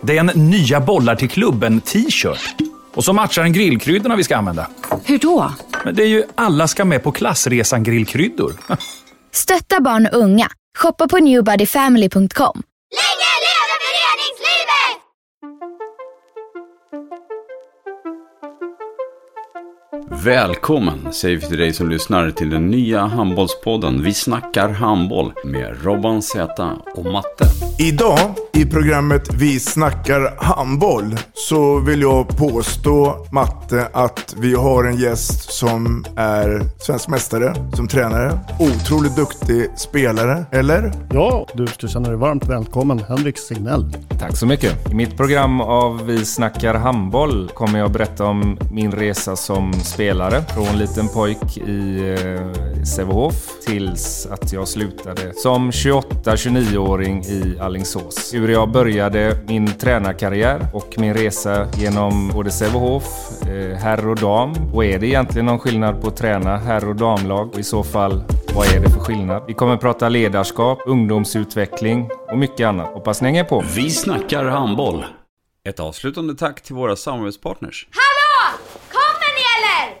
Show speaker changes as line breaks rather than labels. Det är en nya bollar till klubben-t-shirt. Och så matchar den grillkryddorna vi ska använda.
Hur då?
Men det är ju alla ska med på klassresan grillkryddor.
Stötta barn och unga. Shoppa på newbodyfamily.com.
Länge leve föreningslivet!
Välkommen säger vi till dig som lyssnar till den nya handbollspodden Vi snackar handboll med Robban Z och Matte.
Idag i programmet Vi snackar handboll så vill jag påstå, Matte, att vi har en gäst som är svensk mästare som tränare. Otroligt duktig spelare, eller?
Ja, du, du känner dig varmt välkommen, Henrik Signell.
Tack så mycket. I mitt program av Vi snackar handboll kommer jag berätta om min resa som spelare. Från liten pojk i eh, Sävehof tills att jag slutade som 28-29-åring i Allingsås. Hur jag började min tränarkarriär och min resa genom både Sävehof, eh, herr och dam. Och är det egentligen någon skillnad på att träna herr och damlag? Och i så fall, vad är det för skillnad? Vi kommer prata ledarskap, ungdomsutveckling och mycket annat. Hoppas ni hänger på.
Vi snackar handboll. Ett avslutande tack till våra samarbetspartners.
Hallå! Kommer ni eller?